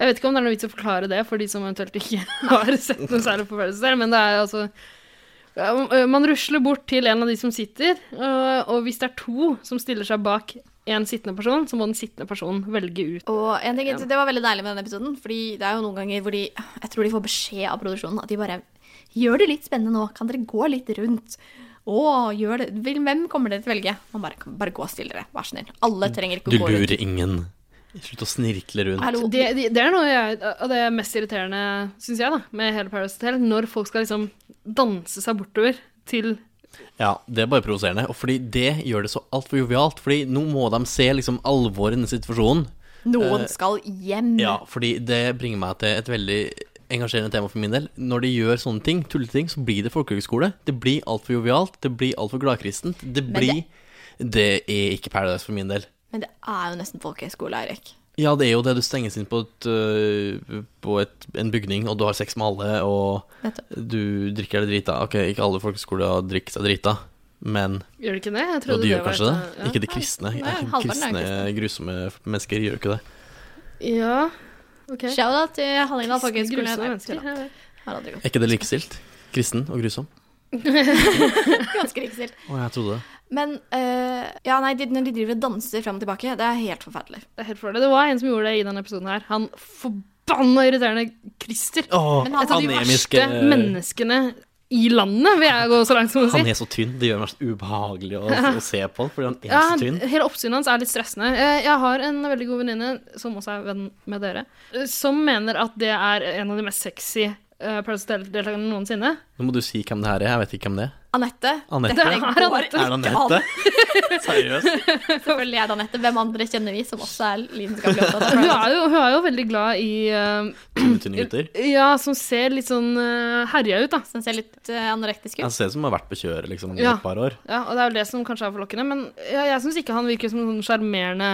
S3: Jeg vet ikke om det er noe vits å forklare det for de som eventuelt ikke har sett noe særlig på Paradise Hotel, men det er altså Ja, m- Man rusler bort til en av de som sitter, øh, og hvis det er to som stiller seg bak en sittende person, så må den sittende personen velge ut.
S2: Og en ting, Det var veldig deilig med denne episoden, Fordi det er jo noen ganger hvor de Jeg tror de får beskjed av produksjonen at de bare Gjør det litt spennende nå. Kan dere gå litt rundt? Å, gjør det vil- Hvem kommer dere til å velge? Man bare, bare gå stille, dere. Vær så snill. Alle trenger ikke
S4: Du
S2: å gå rundt.
S4: lurer ingen. Slutt å snirkle rundt.
S2: Hallo.
S3: Det, det, det er noe jeg, av det mest irriterende, syns jeg, da, med hele Paradise Hotel, når folk skal liksom danse seg bortover til
S4: Ja, det er bare provoserende. Og fordi det gjør det så altfor jovialt. Fordi nå må de se liksom alvoret i denne
S2: Mm.
S4: situasjonen.
S2: Noen skal hjem.
S4: Eh, Ja, fordi det bringer meg til et veldig engasjerende tema for min del. Når de gjør sånne ting, tulleting, så blir det folkehøgskole. Det blir altfor jovialt, det blir altfor gladkristent. Det
S2: Men
S4: blir Det er ikke Paradise for min del.
S2: Men det er jo nesten folkehøyskole, Eirik.
S4: Ja, det er jo det. Du stenges inn på, et, øh, på et, en bygning, og du har sex med alle, og
S2: Nettopp.
S4: du drikker deg drita. Ok, ikke alle folkeskoler drikker seg drita, men
S3: Gjør det ikke det? Jeg
S4: Jo,
S3: trodde
S4: de gjør
S3: var
S4: kanskje det?
S3: et- ja.
S4: Ikke de kristne.
S2: Nei, halvparten er
S4: kristne, grusomme mennesker gjør ikke det.
S3: Ja, ok.
S2: Shout-out til Hallingdal
S3: Kristne,
S2: folkehøgskole.
S3: grusomme
S2: Nei,
S3: mennesker,
S2: tulla.
S3: ja, ja.
S2: Har aldri gått.
S4: Er ikke det likestilt? Kristen og grusom?
S2: Ganske riktig.
S4: Å, jeg trodde det.
S2: Men eh, ja, nei, de, når de driver og danser fram og tilbake, det er helt forferdelig.
S3: Det er helt for det. Det var en som gjorde det i denne episoden her. Han forbanna irriterende Christer.
S2: Men
S3: Et av de
S4: anemiske- eh,
S3: verste menneskene i landet, vil altså, jeg gå så langt som å
S4: Han
S3: si.
S4: er så tynn. Det gjør meg så ubehagelig å, å se på han, fordi han er
S3: Ja,
S4: så tynn.
S3: hele oppsynet hans er litt stressende. Eh, Jeg har en veldig god venninne, som også er venn med dere, eh, som mener at det er en av de mest sexy eh, Paradise Hotel-deltakerne noensinne.
S4: Nå må du si hvem det her er. Jeg vet ikke hvem det er.
S2: Anette,
S4: Anette?
S3: Det
S4: Er
S3: er Anette.
S4: det Anette? Seriøst?
S2: Selvfølgelig er det Anette. Hvem andre kjenner vi som også er lidenskapelig opptatt av
S3: Hun
S2: Paradise?
S3: er jo, hun er jo veldig glad i eh,
S4: Tynne gutter.
S3: Ja, som ser litt sånn eh, herja ut, da.
S2: Den ser litt eh, anorektisk
S4: Jeg
S2: ut.
S4: ser ut som han har vært på kjøret liksom, i
S3: Ja.
S4: et par år.
S3: Ja, og det er jo det som kanskje er forlokkende, men jeg, jeg syns ikke han virker som en sånn sjarmerende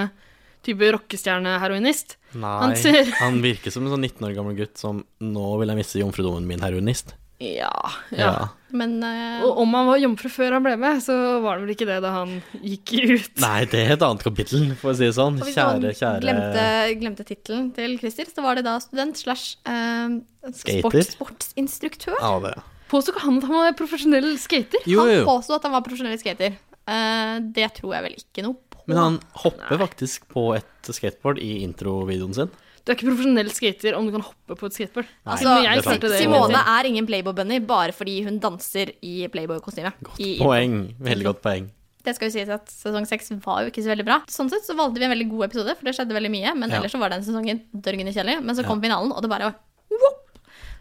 S3: type rockestjerneheroinist.
S4: Nei,
S3: Han ser-
S4: han virker som en sånn 19 år gammel gutt som Nå vil jeg miste jomfrudommen min, heroinist.
S3: Ja,
S4: Ja.
S2: Men eh,
S3: Og om han var jomfru før han ble med, så var det vel ikke det da han gikk ut.
S4: Nei, det er et annet kapittel, for å si det sånn.
S2: og hvis
S4: Kjære,
S2: noen
S4: kjære
S2: glemte, glemte tittelen til Christer, så var det da student slash eh,
S4: Skater?
S2: sport, sportsinstruktør.
S4: Ja, det er
S3: Påsto ikke han at han var profesjonell skater?
S4: Jo,
S2: Han
S4: jo,
S2: påsto at han var profesjonell skater. Eh, det tror jeg vel ikke noe på.
S4: men han hopper faktisk på et skateboard i introvideoen sin.
S3: Du er ikke profesjonell skater om du kan hoppe på et skateboard.
S2: Altså,
S3: Men jeg
S4: det er sant.
S3: klarte det.
S2: Simone er ingen Playboy-bunny bare fordi hun danser i Playboy-kostyme. I-
S4: Poeng. Veldig godt poeng.
S2: Det skal jo sies at Sesong seks var jo ikke så veldig bra. Sånn sett så valgte vi en veldig god episode, for det skjedde veldig mye. Men
S4: Ja.
S2: ellers så var den sesongen dørgende kjedelig. Men så kom finalen, og det bare var whoop!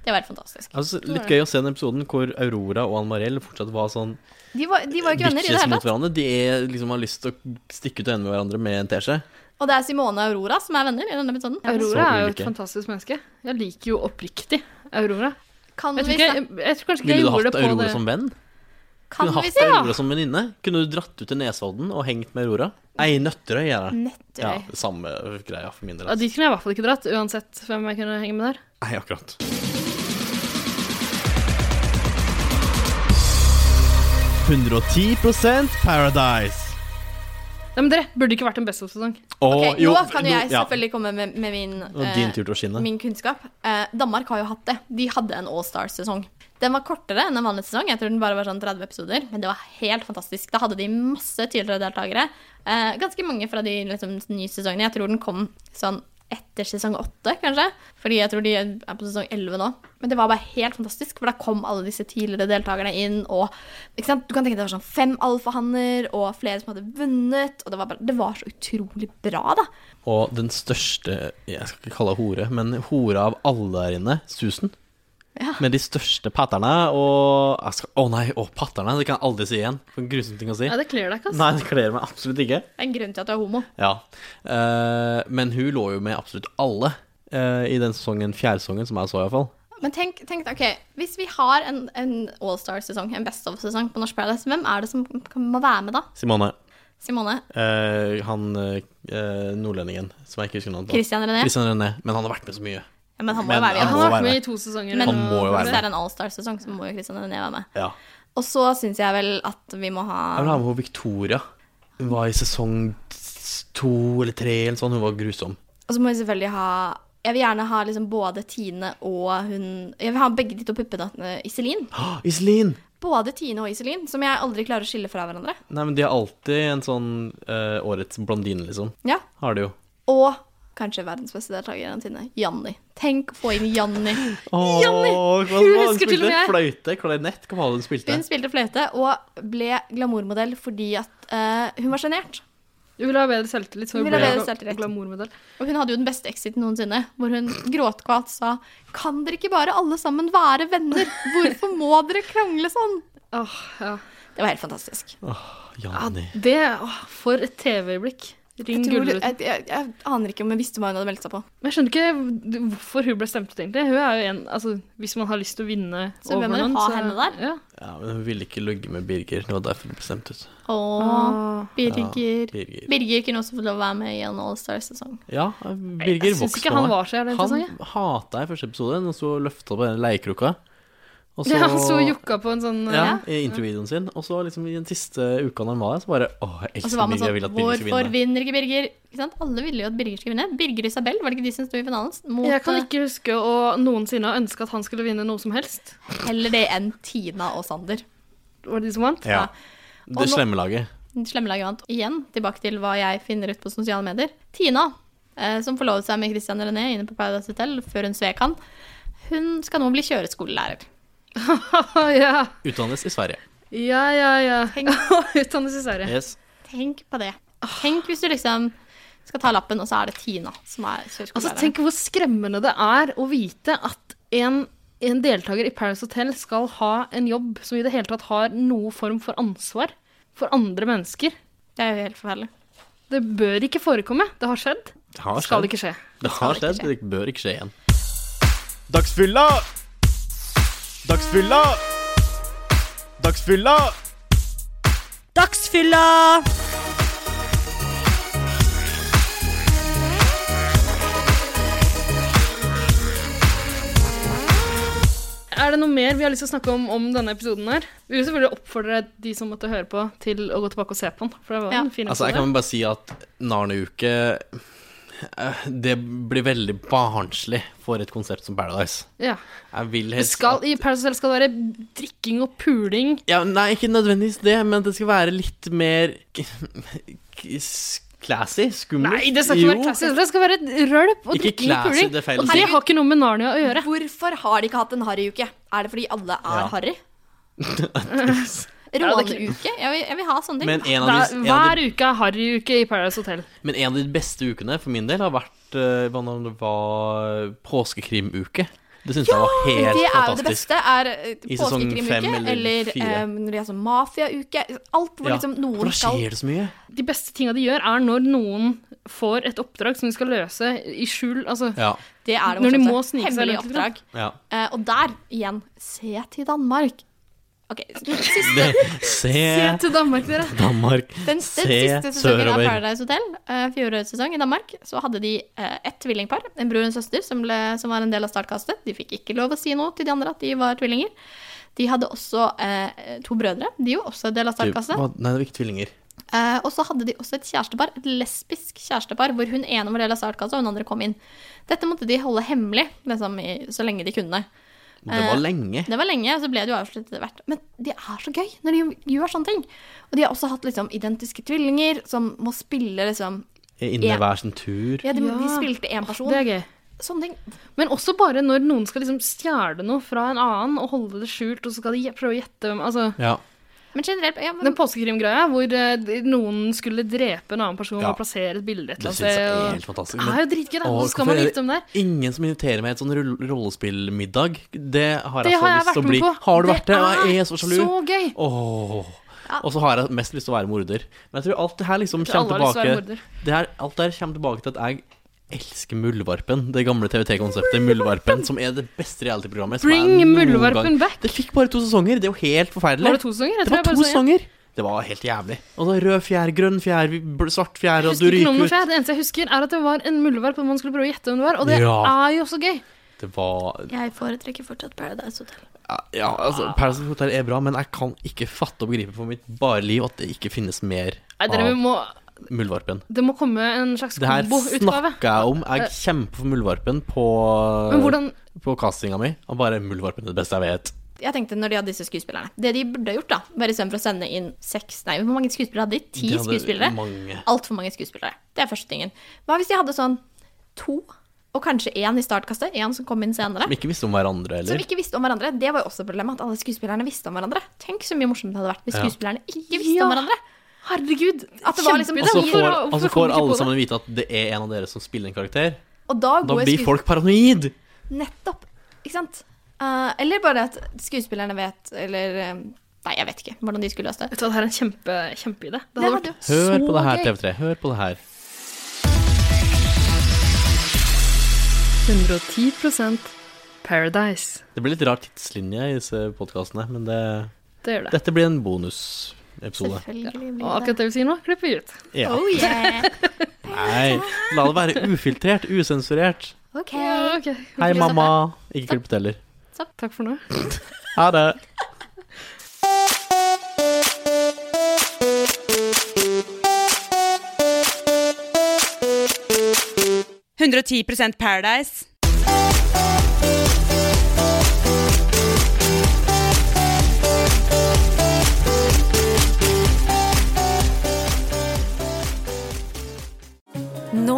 S2: Det var helt fantastisk.
S4: Altså, litt gøy å se den episoden hvor Aurora og Ann Mariell fortsatt var sånn
S2: De var, de var jo ikke venner i det
S4: bitches
S2: hele
S4: mot
S2: tatt.
S4: hverandre. De er, liksom, har lyst til å stikke ut øynene med hverandre med en teskje.
S2: Og det er Simone og Aurora som er venner i denne episoden.
S3: Aurora
S4: Så
S3: er jo et
S4: ulike.
S3: fantastisk menneske. Jeg liker jo oppriktig Aurora.
S2: Kan
S3: Jeg
S2: vi,
S3: tror, ikke,
S2: snak-
S3: jeg, jeg tror kanskje ikke
S4: Ville
S3: jeg
S4: du
S3: gjorde
S4: hatt
S3: det på
S4: Aurora
S3: det.
S4: som venn?
S2: kan
S4: Kunne
S2: vi
S4: hatt
S2: se
S4: Aurora som venninne? Kunne du dratt ut til Nesodden og hengt med Aurora? Ei, Nøtterøy er Mm, det.
S2: Nøtterøy.
S4: Ja, samme greia for min del.
S3: Ja,
S4: Altså.
S3: dit kunne jeg i hvert fall ikke dratt, uansett hvem jeg kunne henge med der.
S4: Nei, akkurat.
S5: Paradise.
S3: Nei, men dere burde ikke vært en best-of-sesong.
S4: Og,
S2: Ok,
S4: jo,
S2: nå kan jo jeg
S4: ja.
S2: selvfølgelig komme med, med min,
S4: Og
S2: eh,
S4: din tur til å skinne.
S2: min kunnskap. Eh, Danmark har jo hatt det. De hadde en All Star-sesong. Den var kortere enn en vanlig sesong. Jeg tror den bare var sånn 30 episoder. Men det var helt fantastisk. Da hadde de masse tidligere deltakere. Eh, ganske mange fra de liksom, nye sesongene. Jeg tror den kom sånn etter sesong åtte, kanskje. Fordi jeg tror de er på sesong elleve nå. Men det var bare helt fantastisk, for da kom alle disse tidligere deltakerne inn. Og ikke sant? du kan tenke deg det var sånn fem alfahanner og flere som hadde vunnet. Og det var, bare, det var så utrolig bra, da.
S4: Og den største Jeg skal ikke kalle henne hore, men hore av alle der inne, Susan.
S2: Ja.
S4: Med de største patterne og jeg skal- Å nei, å, patterne! Det kan jeg aldri si igjen. For en grusom ting å si.
S3: Nei, det kler deg ikke, ass.
S4: Nei, det kler meg absolutt ikke.
S2: Det er en grunn til at du er homo.
S4: Ja. Eh, men hun lå jo med absolutt alle eh, i den sesongen, fjerde sesongen, som jeg så, iallfall.
S2: Men tenk, tenk ok, hvis vi har en, en all-star-sesong, en best of-sesong på Norsk Paradise, hvem er det som kan- må være med da?
S4: Simone.
S2: Simone?
S4: Eh, han eh, eh, nordlendingen som jeg ikke husker navnet på.
S2: Christian René?
S4: Christian René. Men han har vært med så mye.
S2: Ja, men han må
S4: Men
S2: jo være
S4: han
S2: med.
S3: Han
S4: må
S3: har
S4: være
S3: vært med
S4: med.
S3: i to sesonger.
S2: Men
S4: Han må jo være
S2: hvis det
S4: med.
S2: er en all-star-sesong, så må jo Christian René være med.
S4: Ja.
S2: Og så syns jeg vel at vi må
S4: Jeg vil ha
S2: ha
S4: med henne Victoria. Hun var i sesong to eller tre eller sånn. Hun var grusom.
S2: Og så må vi selvfølgelig ha Jeg vil gjerne ha liksom både Tine og hun Jeg vil ha begge de to puppedattene Iselin.
S4: Å, Iselin!
S2: Både Tine og Iselin, som jeg aldri klarer å skille fra hverandre.
S4: Nei, men de har alltid en sånn eh, årets blondine, liksom.
S2: Ja.
S4: Har de jo.
S2: Og kanskje verdens beste deltaker gjennom tidene, Janni. Tenk å få inn Janni.
S4: Åh,
S2: Janni!
S4: hva- hva-
S3: Hun
S4: hun
S3: husker til og
S4: spilte?
S3: med jeg.
S4: Fløyte, klarinett, hva var det hun spilte?
S2: Hun spilte fløyte og ble glamourmodell fordi at eh, hun var sjenert.
S3: Du vil ha bedre selvtillit, så
S2: Hun
S3: hun
S2: vil ha
S3: blir
S2: bedre
S3: gla-
S2: selvtillit.
S3: glamourmodell.
S2: Og hun hadde jo den beste exiten noensinne, hvor hun gråtkvalt sa Kan dere ikke bare alle sammen være venner? Hvorfor må dere krangle sånn?
S3: Åh, ja.
S2: Det var helt fantastisk. Ah,
S4: Janni.
S3: Det åh, For et TV-øyeblikk. Ring
S2: Jeg, tror,
S3: Gullruten.
S2: jeg, jeg, jeg aner ikke om jeg visste hva hun hadde meldt seg på.
S3: Men jeg skjønner ikke hvorfor hun ble stemt ut, egentlig. Hun er jo en, altså, Hvis man har lyst til å vinne
S2: Så
S3: over
S2: hvem er det
S3: noen,
S2: ha
S3: så
S2: henne der?
S3: Ja.
S4: Ja, men hun ville ikke ligge med Birger. Det var derfor hun bestemte ut.
S2: Åh,
S3: Åh.
S2: Birger.
S4: Birger.
S2: Birger kunne også fått lov å være med i en Allstar-sesong.
S4: Ja, Birger
S3: Jeg syns
S4: vokste
S3: ikke
S4: på
S3: han
S4: meg.
S3: var så jævlig
S4: Han
S3: interessant. jeg.
S4: hata jeg i første episode, og så løfta på den leirkrukka. Og
S3: Ja, han så jukka på en sånn
S4: ja, i introvideoen sin. Og så liksom i den siste uka han var der, så bare Å, jeg
S2: Og
S4: elsker
S2: så var man
S4: Birger,
S2: sånn
S4: jeg vil at Birger skal
S2: Hvorfor
S4: vinne.
S2: vinner ikke Birger? Ikke sant? Alle ville jo at Birger skulle vinne. Birger og Isabel, var det ikke de som sto i finalen? Mot
S3: Jeg kan ikke huske å noensinne ha ønska at han skulle vinne noe som helst.
S2: eh, heller det enn Tina og Sander.
S3: Var det de som vant?
S4: Ja.
S2: Og
S4: Det
S2: nå-
S4: slemme laget.
S2: Slemmelaget vant. Igjen tilbake til hva jeg finner ut på sosiale medier. Tina, eh, som forlovet seg med Christian René inne på Paradise Hotel før hun svek han, hun skal nå bli kjøreskolelærer.
S3: ja.
S4: Utdannes i Sverige.
S3: ja, ja, ja.
S2: Tenk.
S3: Utdannes i Sverige.
S4: Yes.
S2: Tenk på det. Tenk hvis du liksom skal ta lappen, og så er det Tina som er
S3: Altså,
S2: kjøreskolelæreren.
S3: tenk hvor skremmende det er å vite at en, en deltaker i Paris Hotel skal ha en jobb som i det hele tatt har noe form for ansvar for andre mennesker.
S2: det er jo helt forferdelig.
S3: Det bør ikke forekomme. Det har skjedd.
S4: Det har skjedd.
S3: Skal ikke skje.
S4: Det har skjedd, det bør ikke skje igjen.
S5: Dagsfylla! Dagsfylla! Dagsfylla!
S6: Dagsfylla!
S3: Er det noe mer vi har lyst til å snakke om om denne episoden her? Vi vil selvfølgelig oppfordre de som måtte høre på, til å gå tilbake og se på den. For det var
S2: Ja.
S3: en fin episode.
S4: Altså, jeg kan bare si at Narneuke eh, Det blir veldig barnslig for et konsept som Paradise.
S3: ja.
S4: Jeg vil
S3: Det
S4: helst
S3: skal,
S4: at-
S3: I Paris Hotel skal det være drikking og puling.
S4: ja, Nei, ikke nødvendigvis det, men det skal være litt mer k- k- s- classy. Skummelt.
S3: Nei, det skal ikke
S4: Jo.
S3: være classy. Det skal være rølp og
S4: Ikke
S3: drikking og
S4: classy,
S3: puling.
S4: det er feil å
S3: og
S4: si.
S3: det har ikke noe med Narnia å gjøre.
S2: Hvorfor har de ikke hatt en harryuke? Er det fordi alle er
S4: Ja.
S2: harry?
S3: Ja, det er
S2: Råneruke? Jeg, vil- jeg vil ha sånne ting.
S4: Men en,
S3: Det
S4: av
S3: er,
S4: de, en av de
S3: hver uke er harryuke i Paradise Hotel.
S4: Men en av de beste ukene for min del har vært eh, hva om det var påskekrimuke. Det syns jeg var helt
S2: det er jo det
S4: fantastisk.
S2: beste. Er
S4: I sesong
S2: påskekrimuke
S4: fem eller
S2: eller, eller
S4: fire.
S2: eh, når de er sånn mafiauke. Alt hvor
S4: Ja,
S2: liksom
S4: for
S2: noen
S4: da
S2: skal
S4: skjer det så mye.
S3: De beste tinga de gjør, er når noen får et oppdrag som de skal løse i skjul. Altså,
S4: Ja.
S2: Det er det
S3: Når de
S2: morsomste.
S3: må snike seg
S2: Hemmelig
S3: rundt litt,
S2: oppdrag.
S4: ja.
S2: Eh, og der, igjen, se til Danmark. Ok, siste,
S4: Det, se
S3: Se til Danmark, dere.
S4: Danmark,
S2: den, den siste
S4: se
S2: sesongen av
S4: sørover.
S2: Paradise Hotel, eh, fjorårets sesong i Danmark, så hadde de eh, ett tvillingpar, en bror og en søster, som, ble, som var en del av startkastet. De fikk ikke lov å si noe til de andre at de var tvillinger. De hadde også eh, to brødre, de er jo også en del av
S4: Du,
S3: altså.
S2: startkastet.
S4: hva- Nei, det var ikke tvillinger.
S2: Eh, og så hadde de også et kjærestepar, et lesbisk kjærestepar, hvor hun ene var del av startkassa, og hun andre kom inn. Dette måtte de holde hemmelig liksom, i, så lenge de kunne.
S4: Det
S3: Eh,
S4: var lenge.
S2: Det var lenge, og så ble det jo avsluttet etter hvert. Men det er så gøy når de gjør sånne ting. Og de har også hatt liksom identiske tvillinger som må spille liksom
S4: Inne hver sin tur.
S2: Ja, de, de
S3: Ja.
S2: spilte én person.
S3: Det er gøy.
S2: Sånne ting.
S3: Men også bare når noen skal liksom stjele noe fra en annen og holde det skjult, og så skal de gje- prøve å gjette hvem altså,
S4: Ja.
S2: Men generelt ja, men,
S3: Den påskekrimgreia hvor eh, de- noen skulle drepe en annen person
S4: Ja.
S3: og plassere et bilde et
S4: Det
S3: eller
S4: syns jeg er
S3: annet
S4: helt
S3: sted. og-
S4: fantastisk.
S3: Det er jo dritgøy, da.
S4: Åh,
S3: Så skal man
S4: hvorfor er
S3: vite om det.
S4: det Ingen som inviterer meg i et sånn rull- rollespillmiddag. Det har jeg
S3: Det
S4: så
S3: har jeg
S4: lyst
S3: vært
S4: til å
S3: med
S4: bli.
S3: på.
S4: Har du vært det? Ja, Jeg er så sjalu.
S3: Så gøy.
S4: Åh. Og så har jeg mest lyst til å være morder. Men jeg tror alt det her liksom
S3: Jeg tror
S4: kommer
S3: alle har lyst til å være
S4: tilbake
S3: morder.
S4: det her, Alt det her kommer tilbake til at jeg elsker Muldvarpen. Det gamle TVT-konseptet Muldvarpen, som er det beste reality-programmet. som
S3: Bring
S4: jeg noen
S3: Muldvarpen
S4: gang-
S3: back.
S4: Det fikk bare to sesonger. Det er jo helt forferdelig.
S3: Var det to sesonger? Jeg
S4: Det
S3: tror
S4: var
S3: jeg bare
S4: to
S3: så én.
S4: sesonger. Det var helt jævlig. Og så rød fjær, grønn fjær, bl- svart fjær, og
S3: Jeg
S4: du
S3: husker ikke noe
S4: ryker
S3: om
S4: ut.
S3: det. Det eneste jeg husker, er at det var en muldvarp, og man skulle prøve å gjette hvem det var. Og det
S4: Ja.
S3: er jo så gøy.
S4: Det var
S2: jeg foretrekker fortsatt Paradise Hotel.
S4: Ja, altså, Paradise Hotel er bra, men jeg kan ikke fatte og begripe for mitt bare liv at det ikke finnes mer
S3: Nei, dere
S4: av
S3: må,
S4: Muldvarpen.
S3: det må komme en slags
S4: Det her
S3: kombo-utgave.
S4: snakker jeg om. Jeg kjemper for Muldvarpen på,
S3: Eh. Men hvordan
S4: på castinga mi. Og bare Muldvarpen er det beste jeg vet.
S2: Jeg tenkte når de hadde disse skuespillerne Det de burde ha gjort, da, var istedenfor å sende inn seks Nei, hvor mange skuespillere hadde de? Ti
S4: De hadde
S2: skuespillere?
S4: mange.
S2: Altfor mange skuespillere. Det er første tingen. Hva hvis de hadde sånn to, og kanskje én i startkastet? Én som kom inn senere?
S4: Som ikke visste om hverandre
S2: Som
S4: heller.
S2: ikke visste om hverandre. Det var jo også problemet, at alle skuespillerne visste om hverandre. Tenk så mye morsomt det hadde vært hvis
S4: Ja.
S2: skuespillerne ikke visste
S3: Ja.
S2: om hverandre.
S3: Herregud.
S2: At det var liksom-
S4: Og så
S2: Hvorfor-
S4: Altså, får,
S3: hvorfor kom vi ikke
S4: og så får
S3: på
S4: alle
S3: det?
S4: sammen vite at det er en av dere som spiller en karakter.
S2: Og da,
S4: Da
S2: går
S4: blir
S2: skues-
S4: folk paranoid.
S2: Nettopp. Ikke sant? Eh, eller bare at skuespillerne vet, eller eh, Nei, jeg vet ikke hvordan de skulle løst det.
S3: Vet du hva, det her er en kjempe, kjempeidé. Det
S2: Det
S3: hadde
S2: hadde
S3: vært
S2: jo-
S4: Hør
S3: så
S4: på det her,
S3: gøy.
S4: TV3. Hør på det her.
S3: 110 Paradise.
S4: Det blir litt rar tidslinje i disse podkastene, men det,
S3: Det gjør det.
S4: dette blir en bonusepisode.
S2: Selvfølgelig
S3: Og
S2: blir det
S3: akkurat det vi sier nå, klipper vi ut.
S4: Ja.
S2: Oh yeah.
S4: Nei, la det være ufiltrert, usensurert.
S2: Ok.
S3: Ja, ok.
S4: Hei, mamma. Ikke klipp ut heller.
S3: Takk for nå.
S4: Ha det.
S6: Paradise.
S8: Nå